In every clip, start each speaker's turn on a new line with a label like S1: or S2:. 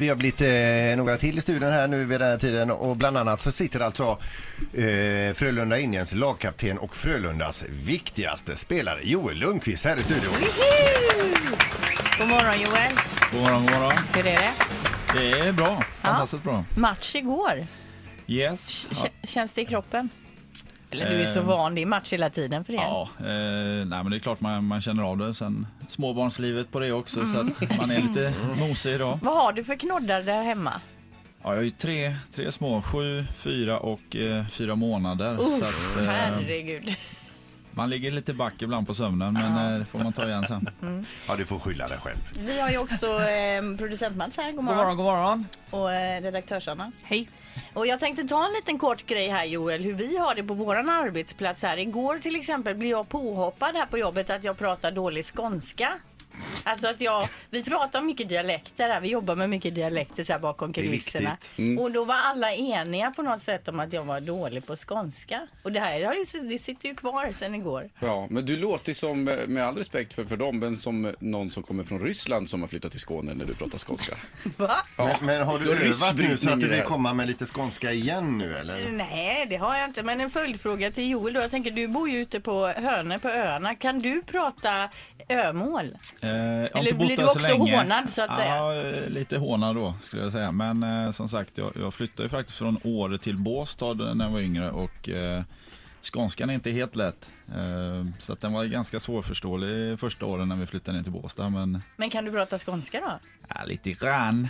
S1: Vi har blivit eh, några till i studion här nu vid den här tiden och bland annat så sitter alltså eh, Frölunda Indiens lagkapten och Frölundas viktigaste spelare Joel Lundqvist här i studion.
S2: God morgon Joel.
S3: God morgon, god morgon.
S2: Hur är det?
S3: Det är bra. Fantastiskt bra.
S2: Match igår.
S3: Yes.
S2: K- Känns det i kroppen? Eller du är så
S3: Eh.
S2: van, det är match hela tiden för er.
S3: Ja, eh, nej, men det är klart man, man känner av det. Sen småbarnslivet på det också så att man är lite mosig idag.
S2: Vad har du för knoddar där hemma?
S3: Ja, jag har ju tre, tre små, sju, fyra och eh, fyra månader. så
S2: Uff,
S3: att, eh,
S2: herregud.
S3: man ligger lite back ibland på sömnen men eh, det får man ta igen sen.
S1: Ja, du får skylla dig själv.
S4: Vi har ju också eh, producent Mats här, god morgon.
S5: god morgon.
S4: Och eh, redaktörs-Anna.
S5: Hej.
S2: Och jag tänkte ta en liten kort grej här Joel, hur vi har det på våran arbetsplats här. Igår till exempel blev jag påhoppad här på jobbet att jag pratar dålig skånska. Alltså att jag, vi pratar mycket dialekter här, vi jobbar med mycket dialekter så här bakom
S1: är
S2: kulisserna.
S1: viktigt. Mm.
S2: Och då var alla eniga på något sätt om att jag var dålig på skånska. Och det här har ju, det sitter ju kvar sedan igår.
S6: Ja, men du låter som, eh, med all respekt för, för dem, men som eh, någon som kommer från Ryssland som har flyttat till Skåne när du pratar skånska.
S2: Va?
S1: Men, men har
S6: Du
S1: du
S6: har
S1: övat nu så att du
S6: ryssbrytning i det
S1: vill
S6: här.
S1: komma med lite skånska igen nu eller?
S2: Nej, det har jag inte. Men en följdfråga till Joel då. Jag tänker, du bor ju ute på Hönö på öarna. Kan du prata ömål?
S3: Eh, jag har inte
S2: Eller
S3: bott
S2: blir
S3: där
S2: du
S3: så
S2: också
S3: länge.
S2: hånad, så att säga?
S3: Ja, eh, lite hånad då skulle jag säga. Men eh, som sagt, jag, jag flyttade ju faktiskt från Åre till Båstad när jag var yngre och eh, skånskan är inte helt lätt. Eh, så att den var ju ganska svårförståelig första åren när vi flyttade ner till Båstad. Men
S2: Men kan du prata skånska då?
S3: ja, lite grann.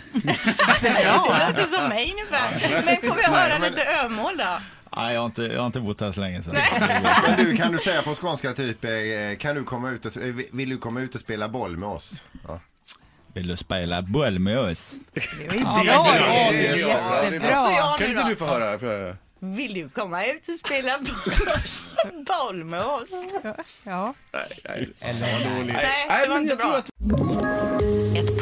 S2: Det låter som mig ungefär. Men får vi höra lite ömål då?
S3: Nej, jag, har inte, jag har inte bott här så länge. Så.
S1: Men du, kan du säga på skånska typ, eh, kan du komma ut och, eh, vill du komma ut och spela boll med oss? Ja.
S3: Vill du spela boll med oss?
S6: Ja, det är bra.
S2: Så
S5: Jättebra.
S2: jag
S6: Kan
S2: nu
S6: inte
S2: då.
S6: du få höra? Få höra?
S2: Vill du komma ut och spela boll- boll med oss?
S5: Ja.
S2: Nej,
S6: Nej,
S2: det var
S6: men
S2: inte
S6: jag tror
S2: bra.
S6: att
S7: Ett